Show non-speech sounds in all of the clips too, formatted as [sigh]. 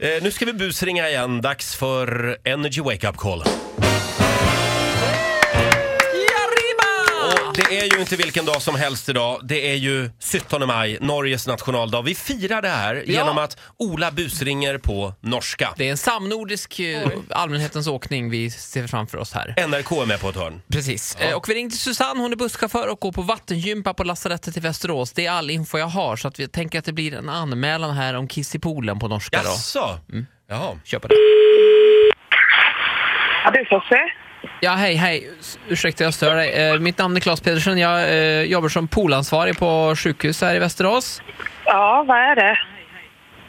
Eh, nu ska vi busringa igen. Dags för Energy Wake Up Call. Och det är ju inte vilken dag som helst idag. Det är ju 17 maj, Norges nationaldag. Vi firar det här genom att Ola busringer på norska. Det är en samnordisk eh, allmänhetens åkning vi ser framför oss här. NRK är med på ett hörn. Precis. Eh, Och vi ringde Susanne, hon är busschaufför och går på vattengympa på lasarettet i Västerås. Det är all info jag har, så att vi tänker att det blir en anmälan här om kiss i poolen på norska då. Jaså? Mm. Jaha. Kör på det. Ja, det är Sosse. Ja, hej, hej. S- Ursäkta, jag stör dig. Eh, Mitt namn är Claes Pedersen. Jag eh, jobbar som poolansvarig på sjukhus här i Västerås. Ja, vad är det?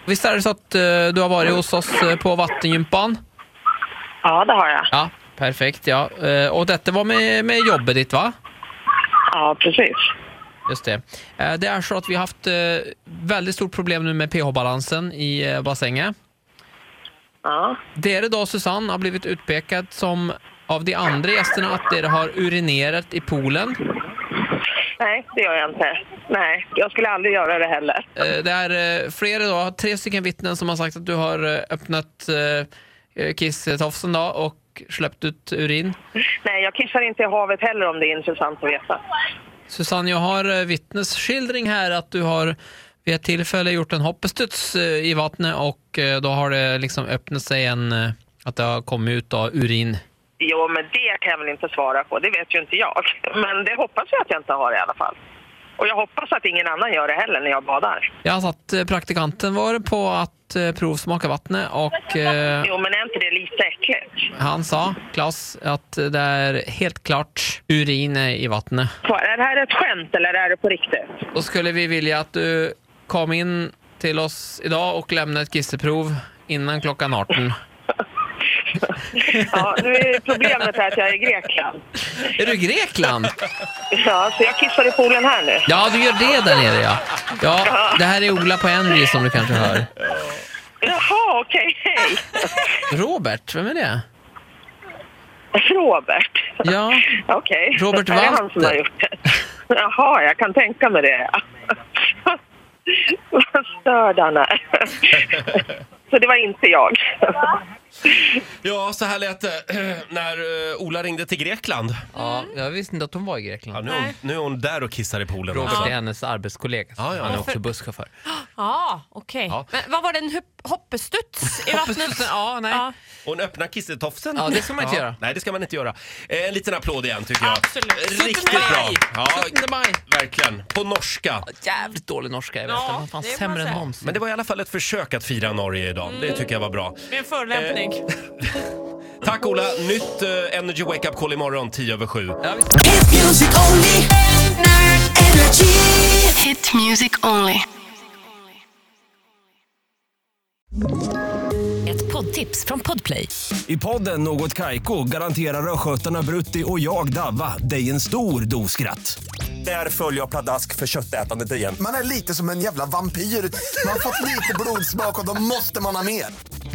Visst är det så att eh, du har varit hos oss eh, på vattengympan? Ja, det har jag. Ja, perfekt. Ja. Eh, Och detta var med, med jobbet ditt, va? Ja, precis. Just det. Eh, Det är så att vi har haft eh, väldigt stort problem nu med pH-balansen i eh, bassängen. Ja. Dere då, Susanne, har blivit utpekad som av de andra gästerna att dere har urinerat i poolen. Nej, det gör jag inte. Nej, jag skulle aldrig göra det heller. Eh, Det är eh, flera då, tre stycken vittnen som har sagt att du har eh, öppnat eh, eh, kisstofsen då och släppt ut urin. Nej, jag kissar inte i havet heller om det är intressant att veta. Susanne, jag har eh, vittnesskildring här att du har vid ett tillfälle gjort en hoppestuds eh, i vattnet och eh, då har det liksom öppnat sig en, eh, att det har kommit ut då, urin. Jo, men det kan jag väl inte svara på. Det vet ju inte jag. Men det hoppas jag att jag inte har i alla fall. Och jag hoppas att ingen annan gör det heller när jag badar. Jag satt eh, praktikanten var på att eh, provsmaka vattnet och eh, Jo, men är inte det lite äckligt? han sa, Klas, att det är helt klart urin i vattnet. Är det här ett skämt eller är det på riktigt? Då skulle vi vilja att du kom in till oss idag och lämnade ett kisseprov innan klockan 18. Ja, nu är problemet här att jag är i Grekland. Är du i Grekland? Ja, så jag kissar i poolen här nu. Ja, du gör det där nere ja. Ja, det här är Ola på Energy som du kanske hör. Jaha, okej. Hej. Robert, vem är det? Robert? Ja. Okej. Robert Det är han som Walter. har gjort det. Jaha, jag kan tänka mig det. ja. Vad störd han är. Så det var inte jag. Ja, så här lät det [clears throat] när eh, Ola ringde till Grekland. ja. Jag visste inte att hon var i Ja, Grekland. nu, är hon, nu är hon där och kissar i poolen Robert också. är hennes arbetskollega. Ja, ja. Han är också busschaufför. Ja, okej. Ja. Men vad var det, en hupp- hoppestuds i vattnet? Ja, nej. Ja. Och en öppna kissetofsen. Ja, det ska man inte göra. Nej, det ska man inte göra. Eh, En liten applåd igen tycker jag. Absolut. Riktigt bra. Ja, 17 maj! verkligen. På norska. Jävligt dålig norska, jag vet. Ja, Den var fan det får sämre man än säga. Hans. Men det var i alla fall ett försök att fira Norge idag. Det tycker jag var bra. Med en förolämpning. Tack Ola! Nytt eh, Energy Wake Up Call imorgon 10 över 7. Hit music only. Energy. Hit music only. Ett poddtips från Podplay. I podden Något Kaiko garanterar östgötarna Brutti och jag, Davva, dig en stor dos skratt. Där följer jag pladask för köttätandet igen. Man är lite som en jävla vampyr. Man har fått lite blodsmak och då måste man ha mer.